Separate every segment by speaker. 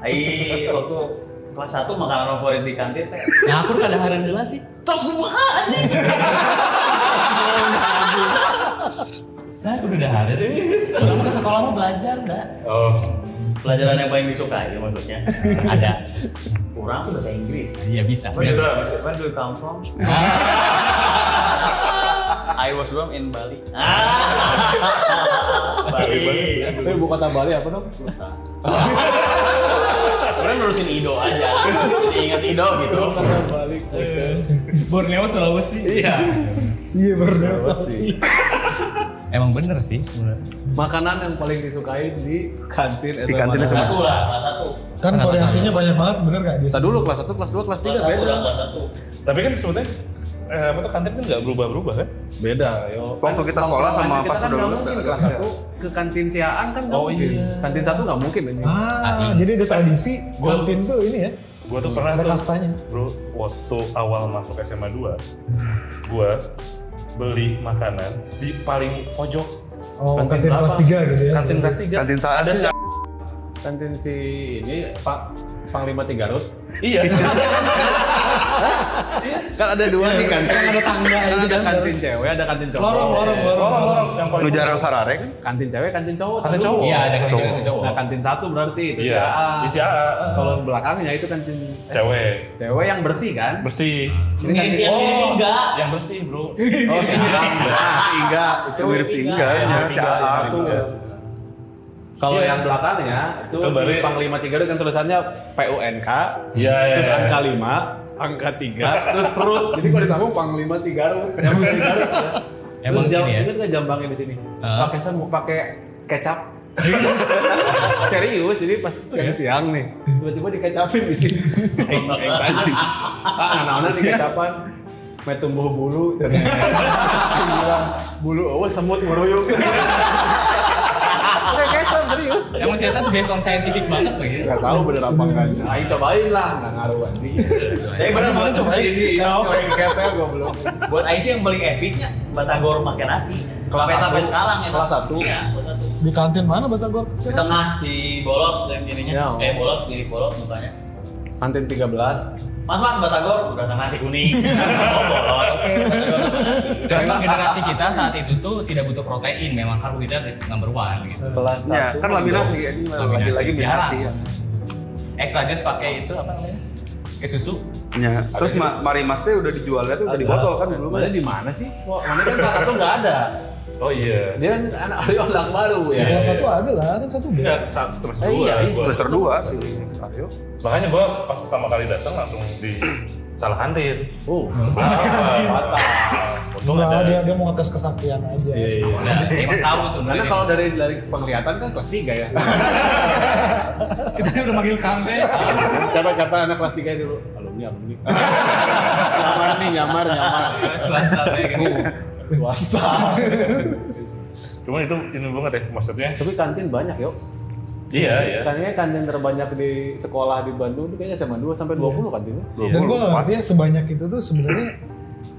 Speaker 1: Ai waktu kelas 1 makanan favorit di kantin teh.
Speaker 2: Nah, aku kada hari heula sih.
Speaker 1: Terus buka anjing.
Speaker 2: Nah, aku udah hari deus. Lama ke sekolah mah belajar, dah.
Speaker 1: Oh. Pelajaran yang paling disukai ya, maksudnya.
Speaker 2: Ada.
Speaker 1: Kurang sih bahasa Inggris.
Speaker 2: Iya bisa.
Speaker 1: Where do you, where do you come from? I was born in Bali. Bali.
Speaker 3: Tapi ibu kota Bali apa dong?
Speaker 1: Orang nurusin Ido aja. Jadi ingat Ido gitu.
Speaker 3: Bali.
Speaker 2: Borneo Sulawesi. Iya.
Speaker 3: Iya benar
Speaker 2: Emang bener sih.
Speaker 3: Makanan yang paling disukai di kantin
Speaker 4: Di kantin
Speaker 1: Kelas
Speaker 4: SMA.
Speaker 1: satu lah, kelas satu.
Speaker 5: Kan variasinya banyak banget bener gak dia?
Speaker 3: Kita dulu kelas 1, kelas 2, kelas
Speaker 1: Kelas
Speaker 3: 3
Speaker 1: satu
Speaker 3: beda.
Speaker 1: lah, kelas satu.
Speaker 6: Tapi kan sebetulnya eh, apa tuh kantin kan nggak berubah-berubah kan?
Speaker 3: Beda. Yo.
Speaker 4: Waktu kita sekolah sama pas
Speaker 3: kan
Speaker 4: udah
Speaker 3: nggak
Speaker 4: lulus
Speaker 3: mungkin
Speaker 4: ada
Speaker 3: kelas
Speaker 4: kelasnya.
Speaker 3: satu ke kantin siaan kan nggak
Speaker 6: Oh,
Speaker 3: mungkin.
Speaker 6: iya.
Speaker 3: Kantin satu nggak mungkin anjing.
Speaker 5: Ah, jadi ada tradisi
Speaker 6: Gua-
Speaker 5: kantin tuh ini ya.
Speaker 6: Gua
Speaker 3: Iya,
Speaker 6: tuh pernah
Speaker 5: Ada
Speaker 6: tuh,
Speaker 5: kastanya.
Speaker 6: Bro, waktu awal masuk SMA 2, gua beli makanan di paling pojok
Speaker 5: Oh, kantin kelas
Speaker 6: berapa?
Speaker 5: tiga gitu ya.
Speaker 6: Kantin kelas
Speaker 3: Iya.
Speaker 6: 3.
Speaker 4: Kantin saat
Speaker 6: ada
Speaker 4: sih.
Speaker 6: si
Speaker 3: Kantin si ini Pak Panglima Tigarut.
Speaker 6: Iya.
Speaker 4: Kan ada dua nih kantin.
Speaker 5: Kan ada tangga
Speaker 3: Kan
Speaker 5: gitu
Speaker 3: ada
Speaker 5: kan.
Speaker 3: kantin cewek, ada kantin cowok.
Speaker 5: Lorong, lorong, lorong.
Speaker 6: Orang-orang yang paling
Speaker 4: Lu jarang sarare kan?
Speaker 3: Kantin cewek, kantin cowok.
Speaker 6: Kantin
Speaker 3: dulu.
Speaker 6: cowok.
Speaker 2: Iya, ada kantin cewek, cowok.
Speaker 3: Nah, kantin satu berarti itu
Speaker 6: Iya.
Speaker 3: siaan.
Speaker 6: Di si AA.
Speaker 3: Kalau belakangnya itu kantin
Speaker 6: cewek
Speaker 3: cewek yang bersih kan? Oh.
Speaker 6: bersih.
Speaker 3: Ini kantin
Speaker 1: Yang ini kan enggak.
Speaker 6: Yang bersih, Bro.
Speaker 3: Oh, si Angga. Nah, si Angga. Itu
Speaker 4: Mirip si Inga ya, si AA tuh.
Speaker 3: Kalau
Speaker 6: Iya.
Speaker 3: yang belakangnya itu,
Speaker 6: Itu
Speaker 3: si
Speaker 6: baru-
Speaker 3: Panglima Tiga itu kan tulisannya PUNK,
Speaker 6: Iya, iya.
Speaker 3: terus
Speaker 6: iya.
Speaker 3: angka 5, angka 3, terus perut. Jadi kalau disambung Panglima Tiga Emang Tiga
Speaker 2: Emang
Speaker 3: jam,
Speaker 2: gini ya?
Speaker 3: Ingat nggak jambangnya di sini?
Speaker 2: Ah.
Speaker 3: Pakai semu, pakai kecap. Serius, jadi pas siang-siang nih, tiba-tiba dikecapin di sini. Eng eng tancis. Ah, anak-anak dikecapan. Mae tumbuh bulu, dan bilang bulu, oh semut meruyuk. Pakai kecap serius.
Speaker 2: Emang ternyata tuh based on scientific banget ya. lagi.
Speaker 3: Gak tahu bener apa enggak. Ayo cobain lah, nggak ngaruh anjing.
Speaker 1: Tapi benar banget coba
Speaker 3: Lengketnya gue belum.
Speaker 1: Buat Aing sih yang paling epicnya Batagor makan nasi.
Speaker 3: Kelas
Speaker 1: Sampai sampai
Speaker 3: satu.
Speaker 1: sekarang ya.
Speaker 3: Kelas
Speaker 1: Kak.
Speaker 3: satu.
Speaker 1: Iya, kelas satu.
Speaker 5: Di kantin mana Batagor?
Speaker 1: Di tengah si bolot dan jadinya.
Speaker 3: Ya.
Speaker 1: Eh bolot, jadi bolot mukanya.
Speaker 3: Kantin 13.
Speaker 1: Mas Mas Batagor udah nasi kuning. Oh, bolot.
Speaker 2: Dan memang generasi kita saat itu tuh tidak butuh protein, memang karbohidrat is number one gitu.
Speaker 3: Kelas
Speaker 4: Ya,
Speaker 3: satu. Iya.
Speaker 4: kan laminasi ya, ini
Speaker 2: Laminasi.
Speaker 4: lagi-lagi minasi ya.
Speaker 2: Extra just pakai itu apa namanya? Kayak susu.
Speaker 4: Ya,
Speaker 3: Iya.
Speaker 4: terus ma Mari Mas teh udah dijualnya tuh udah di botol kan dulu
Speaker 3: Mana
Speaker 4: kan.
Speaker 3: di mana sih? Mana kan kelas satu nggak ada.
Speaker 6: Oh iya.
Speaker 3: Dia kan anak dari orang baru ya.
Speaker 5: Kelas satu ada lah, kan satu B.
Speaker 6: Enggak, sa- semester
Speaker 3: Eh, iya,
Speaker 6: dua.
Speaker 3: iya,
Speaker 6: gua.
Speaker 4: Semester 2 sih. Ayo.
Speaker 6: Makanya gua pas pertama kali datang langsung di salah kantin.
Speaker 3: Oh,
Speaker 6: Salah. Untung
Speaker 5: Enggak, dia,
Speaker 6: ada. Iya,
Speaker 5: dia mau ngetes kesaktian aja.
Speaker 1: Iya.
Speaker 2: Udah, emang tahu
Speaker 3: Karena
Speaker 2: sebenarnya.
Speaker 3: kalau dari dari penglihatan kan kelas 3 ya.
Speaker 2: kita udah manggil kampe.
Speaker 3: Kata-kata anak kelas 3 dulu, alumni alumni. nyamar nih, nyamar, nyamar.
Speaker 2: Swasta kayak gitu.
Speaker 3: Swasta.
Speaker 6: Cuman itu ini banget ya maksudnya.
Speaker 3: Tapi kantin banyak, yuk.
Speaker 6: Iya, iya.
Speaker 3: Kayaknya kantin terbanyak di sekolah di Bandung tuh kayaknya SMA 2 sampai 20 kantinnya.
Speaker 5: Dan gue
Speaker 4: 20.
Speaker 5: nggak ngerti ya sebanyak itu tuh sebenarnya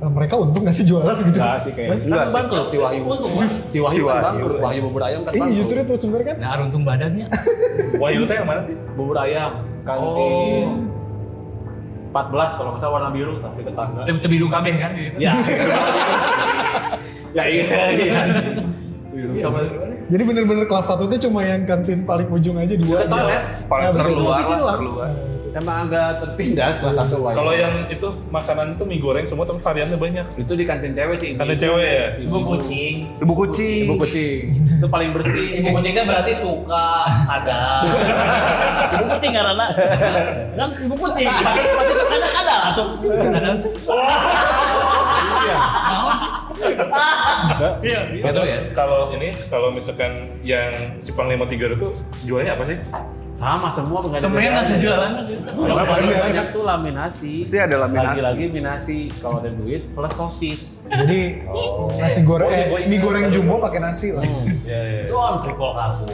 Speaker 5: eh, mereka untung nggak sih jualan gitu?
Speaker 4: Iya.
Speaker 3: Enggak sih kayaknya. Kan bangkrut si Wahyu. Si Wahyu kan
Speaker 4: Wahyu.
Speaker 3: bangkrut, Wahyu bubur ayam kan
Speaker 5: Iya
Speaker 3: bangkrut.
Speaker 5: justru itu sebenarnya kan.
Speaker 2: Nah, runtung badannya.
Speaker 6: Wahyu teh yang mana sih?
Speaker 3: bubur ayam kantin
Speaker 1: Oh.
Speaker 3: 14 kalau nggak salah warna biru tapi tetangga.
Speaker 2: Lebih biru kabeh kan?
Speaker 3: Ya. ya iya iya. Biru sama
Speaker 5: Jadi bener-bener kelas satu tuh cuma yang kantin paling ujung aja dua.
Speaker 3: Ke toilet.
Speaker 4: Paling
Speaker 5: Ya, betul.
Speaker 4: terluar
Speaker 3: Kecil
Speaker 4: lah,
Speaker 3: doang.
Speaker 4: terluar.
Speaker 3: emang agak tertindas kelas 1 Wahyu.
Speaker 6: Kalau yang itu makanan itu mie goreng semua tapi variannya banyak.
Speaker 3: itu di kantin cewek sih.
Speaker 6: Ada cewek ya.
Speaker 1: Ibu kucing.
Speaker 4: Ibu kucing.
Speaker 3: Ibu kucing. Itu paling bersih.
Speaker 1: Ibu kucingnya berarti suka kadang. Ibu kucing karena kan ibu kucing pasti pasti kadang kadang atau
Speaker 2: Kadang
Speaker 3: Iya.
Speaker 6: Iya. Terus kalau ini kalau misalkan yang si Panglima Tiga itu jualnya apa sih?
Speaker 3: Sama semua nggak ada
Speaker 2: semen
Speaker 3: bedanya.
Speaker 2: atau jualan.
Speaker 3: Yang paling banyak tuh laminasi.
Speaker 4: Pasti ada laminasi.
Speaker 3: Lagi-lagi minasi kalau ada duit plus sosis.
Speaker 5: Jadi nasi goreng, eh, mie goreng jumbo pakai nasi lah.
Speaker 4: Hmm.
Speaker 6: Iya, iya.
Speaker 1: itu on triple karbo.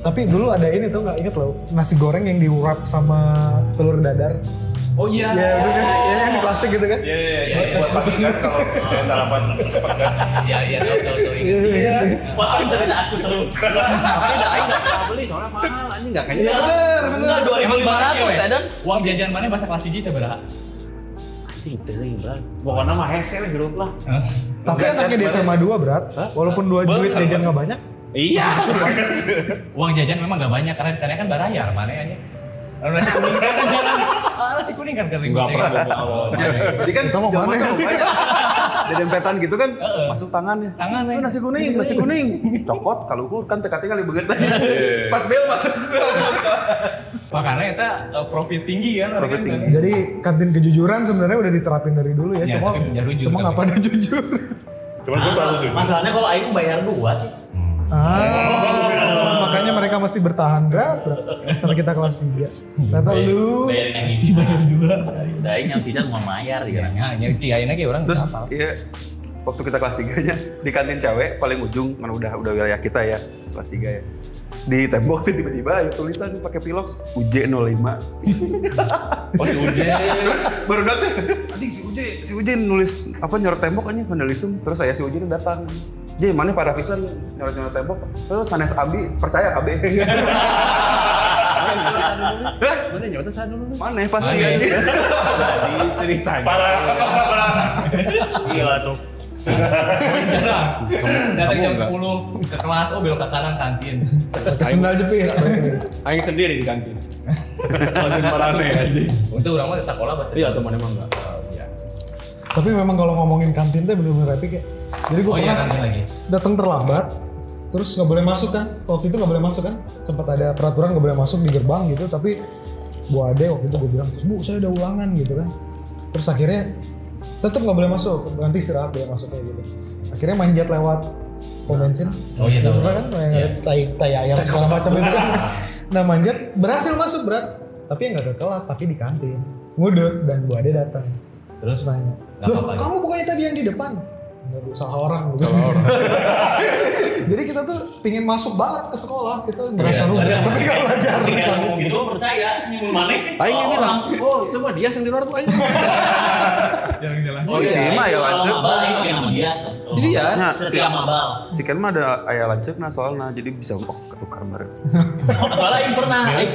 Speaker 5: Tapi dulu ada ini tuh nggak inget loh, nasi goreng yang diurap sama telur dadar.
Speaker 2: Oh iya.
Speaker 5: Ya udah kan, ya yang di plastik gitu kan.
Speaker 6: Iya, iya, iya.
Speaker 5: Buat
Speaker 6: Buat pagi kan kalau saya sarapan cepat kan.
Speaker 2: Iya iya tahu tahu tahu. ingat.
Speaker 5: Iya.
Speaker 1: Potong cerita aku terus.
Speaker 2: Tapi dah aing nggak pernah beli soalnya mahal anjing enggak kayaknya.
Speaker 5: Iya, bener, bener.
Speaker 1: Enggak, 2500
Speaker 2: ya,
Speaker 1: Edan.
Speaker 2: Uang jajan mana bahasa kelas hiji seberapa?
Speaker 1: Anjing teuing, Bang.
Speaker 3: Pokoknya mah hese lah hidup lah.
Speaker 5: Tapi anaknya di SMA 2 berat, walaupun dua duit jajan nggak banyak.
Speaker 1: Iya.
Speaker 2: Uang jajan memang nggak banyak karena di sana kan barayar mana ya. Lalu nasi kuning kan jarang. Ah, nasi kuning kan kering.
Speaker 3: Enggak pernah gua
Speaker 4: Jadi kan
Speaker 5: Kita mau
Speaker 4: zaman
Speaker 5: mana?
Speaker 4: tuh banyak. Di dempetan gitu kan
Speaker 2: Heeh.
Speaker 4: masuk tangannya.
Speaker 2: Tangan
Speaker 4: Itu
Speaker 2: men.
Speaker 4: nasi kuning, nasi kuning. Cokot kalau ukur kan teka-teka kali begitu. Pas bel masuk bel masuk kelas.
Speaker 2: Makanya itu profit tinggi kan. orang
Speaker 4: Profit
Speaker 2: kan.
Speaker 4: tinggi.
Speaker 5: Jadi kantin kejujuran sebenarnya udah diterapin dari dulu ya,
Speaker 2: Ya,
Speaker 5: cuma
Speaker 2: tapi nggak jujur,
Speaker 5: cuma
Speaker 2: tapi.
Speaker 5: nggak pada jujur.
Speaker 6: Cuman gue selalu tuh.
Speaker 1: Masalahnya kalau aing bayar dua sih.
Speaker 5: Ah, makanya mereka masih bertahan berat, berat. sampai kita kelas 3. Ternyata lu
Speaker 1: bayarin yang ini. Bayar dua. Udah aing yang sisa cuma bayar di
Speaker 2: Ya,
Speaker 1: kan.
Speaker 2: ya, ya, kirain lagi orang
Speaker 4: Terus
Speaker 2: nggak apa.
Speaker 4: iya waktu kita kelas 3 nya di kantin cewek paling ujung mana udah udah wilayah kita ya kelas 3 ya di tembok tuh tiba-tiba ada tulisan pakai pilox UJ 05
Speaker 2: Oh si Uje.
Speaker 4: terus baru datang anjing si UJ si UJ nulis apa nyorot tembok anjing vandalisme terus saya si UJ tuh datang Jadi mana para pisan nyorot nyorot tembok terus sanes Abi percaya KB
Speaker 3: Mana nyata saya dulu.
Speaker 4: mana pasti
Speaker 2: Mana? ya?
Speaker 4: anjing.
Speaker 3: Jadi ceritanya.
Speaker 6: Parah.
Speaker 1: Gila tuh.
Speaker 2: Jarang. Datang
Speaker 3: kamu
Speaker 2: jam
Speaker 3: nggak?
Speaker 2: 10 ke kelas, oh belok ke kanan kantin.
Speaker 5: pakai sendal jepit. ya.
Speaker 3: Aing sendiri di kantin. Kantin marane aja.
Speaker 2: Untuk orang mah sekolah Oh, iya. bahasa.
Speaker 1: Iya tuh mana emang enggak.
Speaker 5: Tapi memang kalau ngomongin kantin teh bener-bener epic ya. Jadi gue
Speaker 2: Oh iya
Speaker 5: pernah
Speaker 2: kantin lagi.
Speaker 5: datang terlambat, terus nggak boleh masuk kan? Waktu itu nggak boleh masuk kan? Sempat ada peraturan nggak boleh masuk di gerbang gitu, tapi Bu Ade waktu itu gue bilang, terus Bu saya ada ulangan gitu kan. Terus akhirnya tetap nggak boleh masuk, nanti istirahat boleh masuk kayak gitu. Akhirnya manjat lewat pom bensin.
Speaker 2: Oh, iya, tahu.
Speaker 5: Gitu kan? Yang ada tai, tai ayam segala macam itu kan. Nah manjat berhasil masuk berat, tapi nggak ke kelas, tapi di kantin. Ngudut dan Bu Ade datang. Terus nanya,
Speaker 2: Nggak
Speaker 5: loh
Speaker 2: apa-apa. ya?"
Speaker 5: kamu bukannya tadi yang di depan? Nggak, Bu, Salah orang. Bu." Jadi kita tuh pingin masuk banget ke sekolah, kita ngerasa
Speaker 2: Iya,
Speaker 5: rugi. Tapi nggak belajar.
Speaker 1: Sehingga ngomong gitu mah percaya ini mun mana.
Speaker 3: Aing yang bilang,
Speaker 1: Orang.
Speaker 3: oh coba dia yang di luar tuh aing.
Speaker 2: Jalan-jalan.
Speaker 1: Oh
Speaker 4: Sini
Speaker 1: iya,
Speaker 4: mah ya,
Speaker 1: itu kalau
Speaker 4: lanjut.
Speaker 1: mabal itu yang biasa.
Speaker 3: Jadi ya.
Speaker 4: Nah,
Speaker 1: Setiap mabal.
Speaker 4: si Ken mah ada ayah lancek nah soalnya jadi bisa oh ketukar bareng
Speaker 1: Soalnya aing pernah. Aing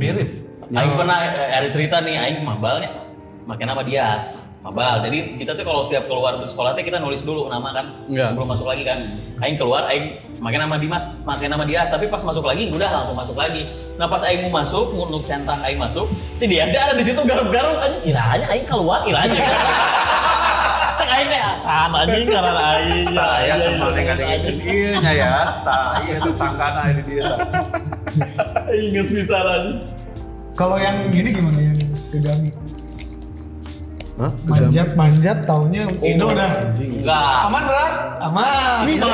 Speaker 2: Mirip.
Speaker 1: Aing pernah eh, ada cerita nih, Aing mabalnya pakai nama Dias, mabal. Jadi kita tuh kalau setiap keluar dari sekolah tuh kita nulis dulu nama kan,
Speaker 3: Iya.
Speaker 1: sebelum masuk lagi kan. Aing keluar, Aing pakai nama Dimas, pakai nama Dias, tapi pas masuk lagi udah langsung masuk lagi. Nah pas Aing mau masuk, ngunduh centang Aing masuk, si Diasnya ada di situ garuk-garuk, anjing kiranya Aing keluar, kiranya. Cek Aing teh, ah anjing karena Aing.
Speaker 4: Saya
Speaker 1: Iya,
Speaker 4: sama
Speaker 1: iya,
Speaker 4: dengan
Speaker 1: iya,
Speaker 4: itu
Speaker 1: anjing.
Speaker 4: iya nya ya saya itu sangkana ini dia
Speaker 1: Ingat bisa lagi.
Speaker 5: Kalau yang gini gimana yang kegami? Manjat, manjat, taunya Indo dah.
Speaker 1: Enggak.
Speaker 5: Aman berat? Aman.
Speaker 1: Bisa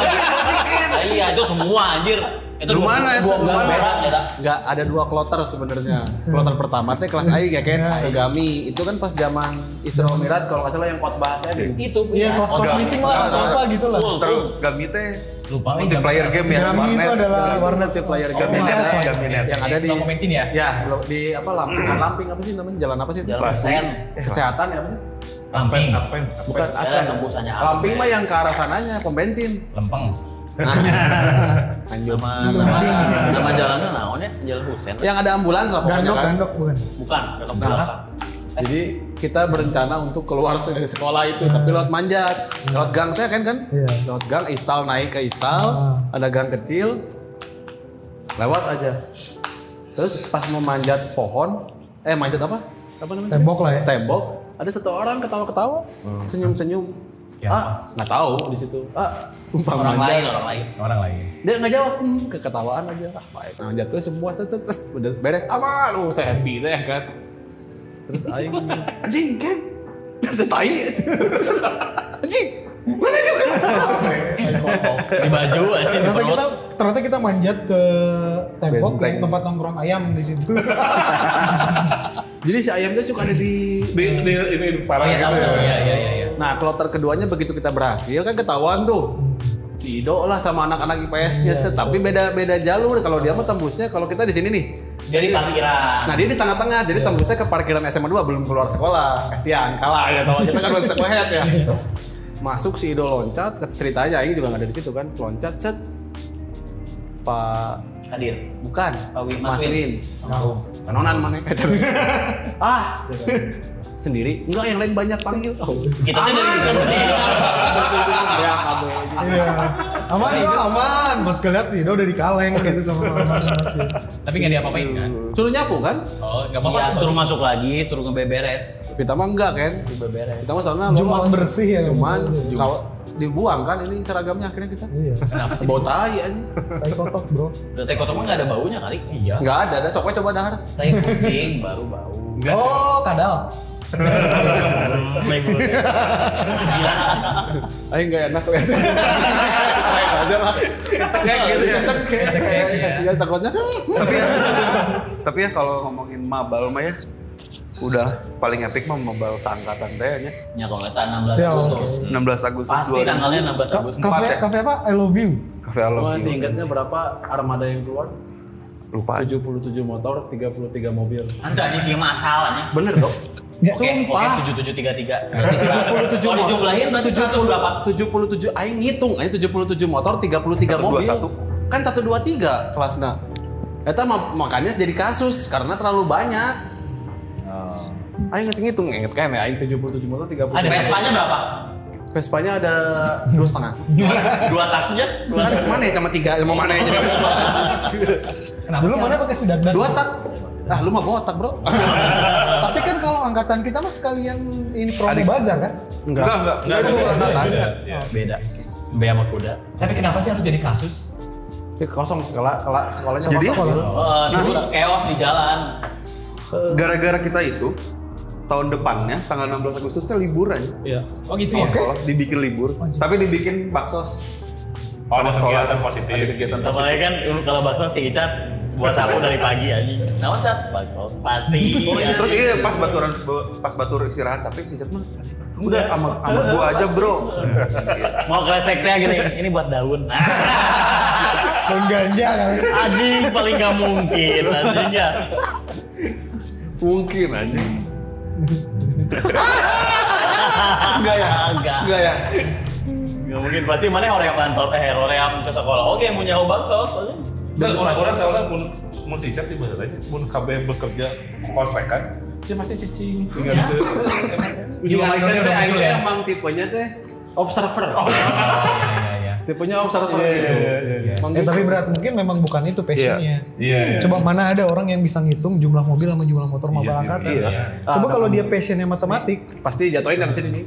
Speaker 1: Iya, itu semua anjir. Itu
Speaker 4: Lu mana itu?
Speaker 1: Gua
Speaker 4: Lu
Speaker 1: gua
Speaker 4: mana?
Speaker 1: merah ya. dah.
Speaker 3: Enggak ada dua kloter sebenarnya. Kloter pertama teh kelas aing ya kan, Agami. Itu kan pas zaman Isra Miraj kalau nggak salah yang khotbahnya di
Speaker 1: Itu. ya.
Speaker 5: Iya, kos-kos meeting lah, atau apa gitu lah.
Speaker 1: Full.
Speaker 4: terus gami teh
Speaker 2: Lupa ini.
Speaker 4: multiplayer game ya
Speaker 5: Gami itu adalah warnet
Speaker 3: warnet player
Speaker 2: Oh,
Speaker 3: Gami.
Speaker 2: warnet.
Speaker 3: Ada
Speaker 2: Gami
Speaker 3: Gaminet. yang ada di
Speaker 2: Sebelum bensin ya?
Speaker 3: Ya, sebelum di apa Lamping, bukan Lamping apa sih namanya? Jalan apa sih? itu?
Speaker 1: Jalan Sen.
Speaker 3: Kesehatan ya apa sih?
Speaker 2: Lamping.
Speaker 6: Aven.
Speaker 3: Bukan
Speaker 1: Jalan
Speaker 3: Aceh.
Speaker 1: tembusannya apa?
Speaker 3: Lamping mah yang ke arah sananya, pom bensin. Nah,
Speaker 2: Lempeng.
Speaker 3: Anjir.
Speaker 1: Nama nama nama jalannya naon ya? Jalan Husen.
Speaker 3: Yang ada ambulans lah pokoknya
Speaker 5: Gandok,
Speaker 3: kan.
Speaker 5: gandok bukan.
Speaker 1: Bukan, kalau belakang.
Speaker 3: Jadi kita berencana untuk keluar dari sekolah itu, tapi lewat manjat, lewat gang teh kan kan?
Speaker 5: Iya.
Speaker 3: Lewat gang, istal naik ke istal,
Speaker 5: Ah.
Speaker 3: ada gang kecil, lewat aja. Terus pas mau manjat pohon, eh manjat apa? Apa namanya?
Speaker 5: Tembok lah ya.
Speaker 3: Tembok. Ada satu orang ketawa-ketawa,
Speaker 5: Hmm.
Speaker 3: senyum-senyum.
Speaker 2: Siapa?
Speaker 3: Ah, nggak tahu di situ. Ah, umpam
Speaker 1: Orang
Speaker 3: manjat.
Speaker 1: lain, orang lain.
Speaker 2: Orang lagi.
Speaker 3: Dia nggak jawab, hmm, keketawaan aja. Ah, baik. Nah, jatuh semua set set set udah beres. Aman, lu saya happy deh kan. Terus aing anjing kan. Ada tai. Anjing. Mana juga.
Speaker 1: Di baju aja di
Speaker 5: Iya, Ternyata
Speaker 1: perut.
Speaker 5: kita ternyata kita manjat ke tembok
Speaker 4: Benteng.
Speaker 5: yang tempat nongkrong ayam di situ.
Speaker 3: Jadi si ayamnya suka ada di
Speaker 6: Di, di, ini
Speaker 2: Oh
Speaker 6: parah
Speaker 2: iya tahu
Speaker 6: gitu
Speaker 2: tahu. Iya
Speaker 6: ya.
Speaker 2: iya iya.
Speaker 3: Nah, kloter keduanya begitu kita berhasil kan ketahuan tuh. Iya. Dido lah sama anak-anak IPS-nya, set. tapi beda beda jalur. Kalau dia mah tembusnya, kalau kita di sini nih
Speaker 1: Jadi parkiran.
Speaker 3: Nah dia di tengah-tengah, jadi tembusnya ke parkiran SMA 2 belum keluar sekolah. Kasihan, kalah ya tahu kita kan udah step ahead ya. Masuk si Ido loncat, ke- ceritanya Aing juga nggak ada di situ kan, loncat set. Pak
Speaker 1: Hadir.
Speaker 3: bukan,
Speaker 1: Pak Win, Mas
Speaker 3: Mas
Speaker 1: Win.
Speaker 3: Win. Kanonan mana? ah, sendiri? Enggak, yang lain banyak panggil. Oh.
Speaker 1: Kita tuh gitu. dari
Speaker 3: ya, kabe.
Speaker 5: Iya. Aman dong, aman. Mas keliat sih, udah dari kaleng gitu sama Mas Mas. gitu.
Speaker 2: Tapi nggak diapa-apain kan?
Speaker 3: Suruh nyapu kan?
Speaker 2: Oh, nggak apa-apa.
Speaker 1: Iya, suruh masuk lagi, suruh ngebeberes.
Speaker 3: Kita mah enggak kan?
Speaker 1: Ngebeberes.
Speaker 3: Kita mah soalnya
Speaker 5: Jumat
Speaker 3: lolos.
Speaker 5: bersih ya,
Speaker 3: Cuman
Speaker 5: maksudnya.
Speaker 3: kalau dibuang kan ini seragamnya akhirnya kita.
Speaker 5: Iya.
Speaker 2: Kenapa sih?
Speaker 3: Bau tai aja.
Speaker 5: Tai kotok bro.
Speaker 1: Udah teh kotor mah nggak ada baunya kali.
Speaker 2: Iya.
Speaker 3: Enggak ada, ada coba coba dahar.
Speaker 1: Tai kucing baru bau.
Speaker 5: Oh, kadal.
Speaker 1: Gila.
Speaker 3: Ayo enggak enak ya. Lain aja lah. Kayak gitu ya. Kayak ya takutnya.
Speaker 4: tapi ya, tapi ya kalau ngomongin mabal mah ya udah paling epic mah mabal seangkatan teh nya
Speaker 1: Ya kalau nggak tahan 16
Speaker 5: Ya,
Speaker 1: Agustus.
Speaker 4: 16 Agustus
Speaker 1: Pasti
Speaker 4: 2000.
Speaker 1: tanggalnya 16
Speaker 5: Ka-
Speaker 1: Agustus.
Speaker 5: Kafe
Speaker 4: ya?
Speaker 5: kafe apa? I love you.
Speaker 4: Cafe I Love
Speaker 3: Lo
Speaker 4: You.
Speaker 3: masih ingatnya berapa armada yang keluar?
Speaker 4: lupa
Speaker 3: 77 motor, 33 mobil.
Speaker 1: Entah di sini masalahnya.
Speaker 3: Bener dong.
Speaker 5: Ya.
Speaker 1: Oke, oke
Speaker 3: Sumpah.
Speaker 1: 7733.
Speaker 3: 77
Speaker 1: Kalau dijumlahin berarti 100 berapa?
Speaker 3: 77 aing ngitung aing 77 motor 33 mobil
Speaker 4: 121.
Speaker 3: kan 123 kelasna eta ma- makanya jadi kasus karena terlalu banyak aing ngasih ngitung inget kan ya aing 77 motor 33
Speaker 1: Ada Vespanya berapa?
Speaker 3: Vespanya ada dua setengah
Speaker 1: Dua taknya? Dua
Speaker 3: kan
Speaker 1: tak.
Speaker 3: mana ya sama tiga sama mana ya
Speaker 2: Kenapa
Speaker 5: Dulu
Speaker 2: sih
Speaker 5: mana
Speaker 2: harus-
Speaker 5: pakai sedak dan
Speaker 3: dua tak ah lu mah botak bro
Speaker 5: Tapi kan kalau angkatan kita mah sekalian ini promo bazar kan?
Speaker 4: enggak enggak
Speaker 3: Enggak, itu angkatan
Speaker 2: ya.
Speaker 6: Iya.
Speaker 1: Beda. Bea sama kuda.
Speaker 2: Tapi kenapa sih harus jadi kasus?
Speaker 3: Dia kosong sekolah kela- sekolahnya
Speaker 4: Jadi?
Speaker 3: kosong
Speaker 1: Oh, terus chaos di jalan.
Speaker 4: gara-gara kita itu tahun depannya tanggal 16 Agustus teh liburan
Speaker 2: Oh gitu
Speaker 1: Iya.
Speaker 4: sama
Speaker 2: ya?
Speaker 4: sekolah dibikin libur
Speaker 5: Wajib.
Speaker 4: tapi dibikin baksos
Speaker 6: Oh, ada
Speaker 4: Sama sekolah.
Speaker 6: kegiatan positif.
Speaker 4: Ada kegiatan
Speaker 1: Sama lagi kan kalau bakso si Icat buat sapu dari pagi aja. Nah, Icat bakso pasti.
Speaker 4: Oh,
Speaker 1: anjing.
Speaker 4: terus iya pas baturan pas batur istirahat capek sih Jatman. Udah sama sama gua aja, Bro.
Speaker 1: Mau kresek teh gini, ini buat daun.
Speaker 5: Pengganja kali.
Speaker 1: Anjing paling gak mungkin anjingnya.
Speaker 3: mungkin aja
Speaker 4: Enggak
Speaker 3: Iya.
Speaker 4: ya?
Speaker 1: Enggak.
Speaker 4: Enggak ya?
Speaker 1: Gak mungkin pasti mana orang yang kantor eh orang yang ke sekolah. Oke, mau nyawa bakso. soalnya.
Speaker 6: Dan orang-orang soalnya pun mau sicat di bahasa lain, pun KB bekerja konsekan, sih masih cicing. Tinggal itu.
Speaker 2: Iya,
Speaker 3: Iwan
Speaker 2: Iwan udah
Speaker 3: teh
Speaker 2: muncul
Speaker 3: aing
Speaker 2: ya?
Speaker 3: emang tipenya teh observer.
Speaker 2: Iya, iya,
Speaker 3: Tipenya observer.
Speaker 6: Iya, iya, iya, iya.
Speaker 3: Emang
Speaker 5: Eh
Speaker 3: gitu.
Speaker 5: tapi berat mungkin memang bukan itu passionnya.
Speaker 6: Iya, iya.
Speaker 5: Coba mana ada orang yang bisa ngitung jumlah mobil sama jumlah motor mau
Speaker 6: Iya sih,
Speaker 5: berangkat.
Speaker 6: iya.
Speaker 5: Coba kalau dia passionnya matematik,
Speaker 3: pasti jatuhin dari sini nih.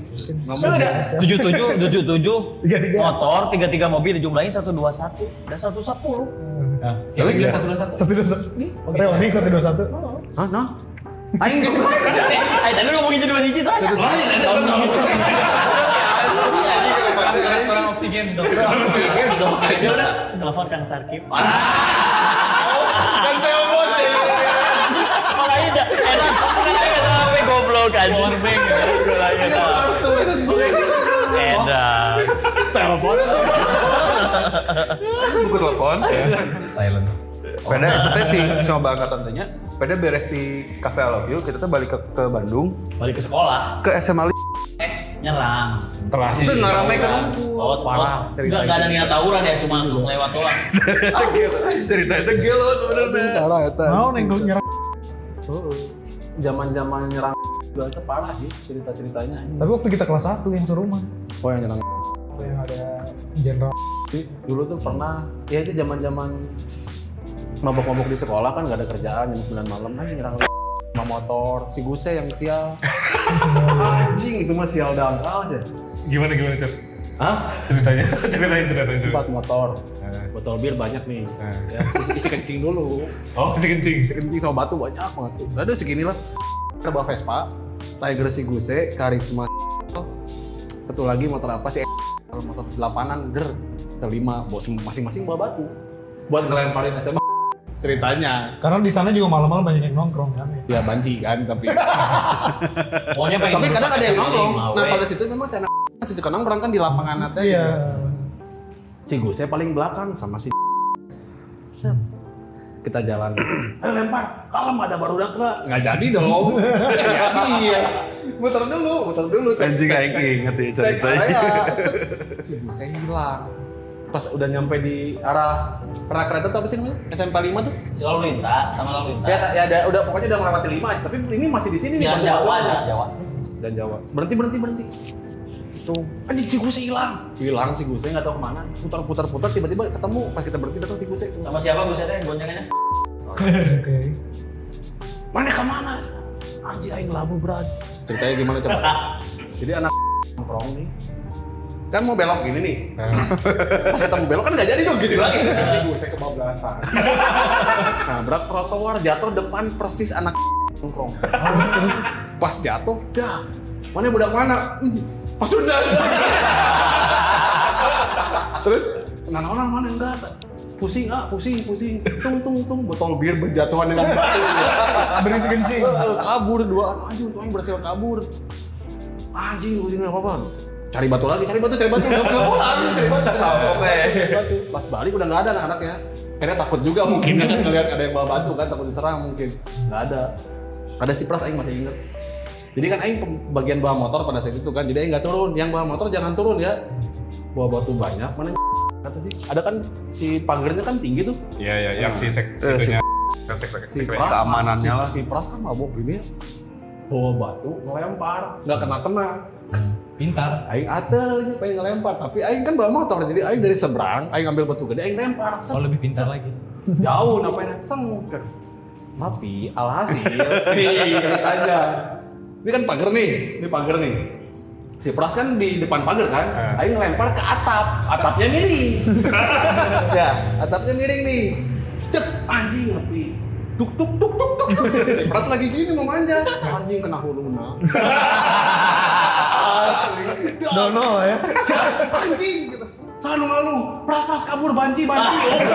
Speaker 1: Sudah tujuh tujuh tujuh tujuh
Speaker 5: Tiga-tiga.
Speaker 1: motor tiga tiga mobil dijumlahin satu dua satu dan satu sepuluh.
Speaker 2: iya. Siapa sih bilang satu dua satu?
Speaker 5: satu dua satu, reuni satu dua satu.
Speaker 3: Hah, nah. Aing juga aja.
Speaker 1: Eh tadi lu ngomongin jadi dua hiji saja.
Speaker 2: Kurang oksigen dong.
Speaker 1: Telepon Kang Sarkim.
Speaker 3: Kan teh omong teh.
Speaker 1: Malah ini dah. Eh, dah. Eh, dah. Apa goblok aja. Eh, dah.
Speaker 3: Kartu itu.
Speaker 1: Eh, dah.
Speaker 3: Telepon.
Speaker 4: Buku telepon.
Speaker 2: Silent.
Speaker 4: Pada itu teh si coba angkatan tanya, pada beres di Cafe I Love You, kita tuh balik ke, ke Bandung,
Speaker 1: Balik ke sekolah,
Speaker 4: ke SMA Li-
Speaker 1: Eh, nyerang.
Speaker 4: itu ngarame kan
Speaker 1: Oh, parah. Enggak, enggak ada niat tawuran ya, cuma lewat doang.
Speaker 4: iya. cerita itu gelo sebenarnya.
Speaker 5: Parah eta. Mau nengok nyerang.
Speaker 3: Zaman-zaman nyerang juga itu parah sih cerita-ceritanya.
Speaker 5: Tapi waktu kita kelas 1 yang seru mah.
Speaker 3: Oh yang nyerang.
Speaker 5: Itu yang ada jenderal.
Speaker 3: Dulu tuh pernah ya itu zaman-zaman mabok-mabok di sekolah kan gak ada kerjaan jam 9 malam kan nyerang sama motor si Guse yang sial anjing itu mah sial dalam aja
Speaker 6: Gimana gimana Cat?
Speaker 3: Hah?
Speaker 6: Ceritanya, ceritain, ceritain, ceritain.
Speaker 3: empat motor botol bir banyak nih ya, isi, isi kencing dulu
Speaker 6: Oh, si kencing.
Speaker 3: isi kencing sama batu banyak banget tuh aduh segini lah ada bawa Vespa Tiger si Guse Karisma satu lagi motor apa sih kalau motor delapanan der kelima bawa semua- masing-masing bawa batu buat ngelemparin SMA ceritanya
Speaker 5: Karena di sana juga malam-malam banyak yang nongkrong kan ya.
Speaker 3: ya banci kan tapi
Speaker 1: Pokoknya pengen
Speaker 3: tapi kadang
Speaker 1: merusak
Speaker 3: ada yang nongkrong
Speaker 1: ekosistem,
Speaker 3: nah
Speaker 1: we.
Speaker 3: pada situ memang si anak si suka nongkrong kan di lapangan aja
Speaker 5: Iya.
Speaker 3: si Guse paling belakang sama si Set. kita jalan
Speaker 4: Eh lempar, kalem ada barudak lah.
Speaker 3: nggak jadi dong iya muter dulu muter dulu cek-
Speaker 4: Anjing
Speaker 3: cek-
Speaker 4: aing
Speaker 3: cek-
Speaker 4: inget ya
Speaker 3: cek
Speaker 4: ceritanya.
Speaker 3: area. Set. si busnya hilang pas udah nyampe di arah arah kereta tuh apa sih namanya SMP 5 tuh
Speaker 1: Lalu lintas, sama lalu
Speaker 3: ya,
Speaker 1: lintas.
Speaker 3: ya ada udah pokoknya udah melewati 5 tapi ini masih di sini
Speaker 1: Jalan
Speaker 3: nih Pak.
Speaker 1: Jawa, jalan Jawa.
Speaker 3: dan Jawa. Berhenti berhenti berhenti. Itu anjing si Guse hilang. Hilang si Guse nggak tahu kemana. Putar putar putar tiba-tiba ketemu pas kita berhenti datang si Guse.
Speaker 1: Sama siapa gue teh boncengannya?
Speaker 5: Oke.
Speaker 3: Mana kemana? Anjing aing labu berat. Ceritanya gimana coba? Jadi anak nongkrong nih kan mau belok gini nih pas kita mau belok kan nggak Hmm. Nah, jadi dong gini lagi si Guse kebablasan nabrak trotoar jatuh depan persis anak nongkrong pas jatuh dah mana budak mana Ih, pas udah terus nah orang mana enggak pusing ah pusing pusing tung tung tung botol bir berjatuhan dengan batu
Speaker 5: Berisi kencing.
Speaker 3: Eh, kabur dua anak anjing tuh berhasil kabur anjing gue nggak apa-apa cari batu lagi cari batu cari batu nggak nggak pulang cari batu cari batu pas balik udah nggak ada anak-anaknya karena takut juga mungkin kan ngeliat ada yang bawa batu kan takut diserang mungkin nggak ada ada si pras aing masih inget jadi kan aing pem- bagian bawa motor pada saat itu kan jadi aing nggak turun yang bawa motor jangan turun ya bawa batu banyak mana yang kata sih ada kan si pagernya kan tinggi tuh
Speaker 6: Iya iya, yang si sek
Speaker 4: Eh,
Speaker 6: itunya kan sek sek
Speaker 3: si
Speaker 6: sek-
Speaker 3: Pras
Speaker 4: keamanannya
Speaker 3: si-
Speaker 4: lah.
Speaker 3: si Pras kan mabok ini bawa batu ngelempar nggak kena kena
Speaker 2: Pintar.
Speaker 3: Aing atel ini pengen ngelempar tapi Aing kan bawa motor jadi Aing dari seberang Aing ambil batu gede Aing lempar
Speaker 2: Oh
Speaker 3: set,
Speaker 2: lebih pintar lagi.
Speaker 3: jauh namanya seng tapi alhasil lihat Iya, aja ini kan pagar nih ini pagar nih si Pras kan di depan pagar kan Aing ngelempar ke atap atapnya miring ya atapnya miring nih cek anjing lebih duk duk duk duk duk duk. si Pras lagi gini mau manja anjing kena huluna asli
Speaker 5: Dono ya.
Speaker 3: anjing gitu. Sanu malu, pras pras kabur banci banci.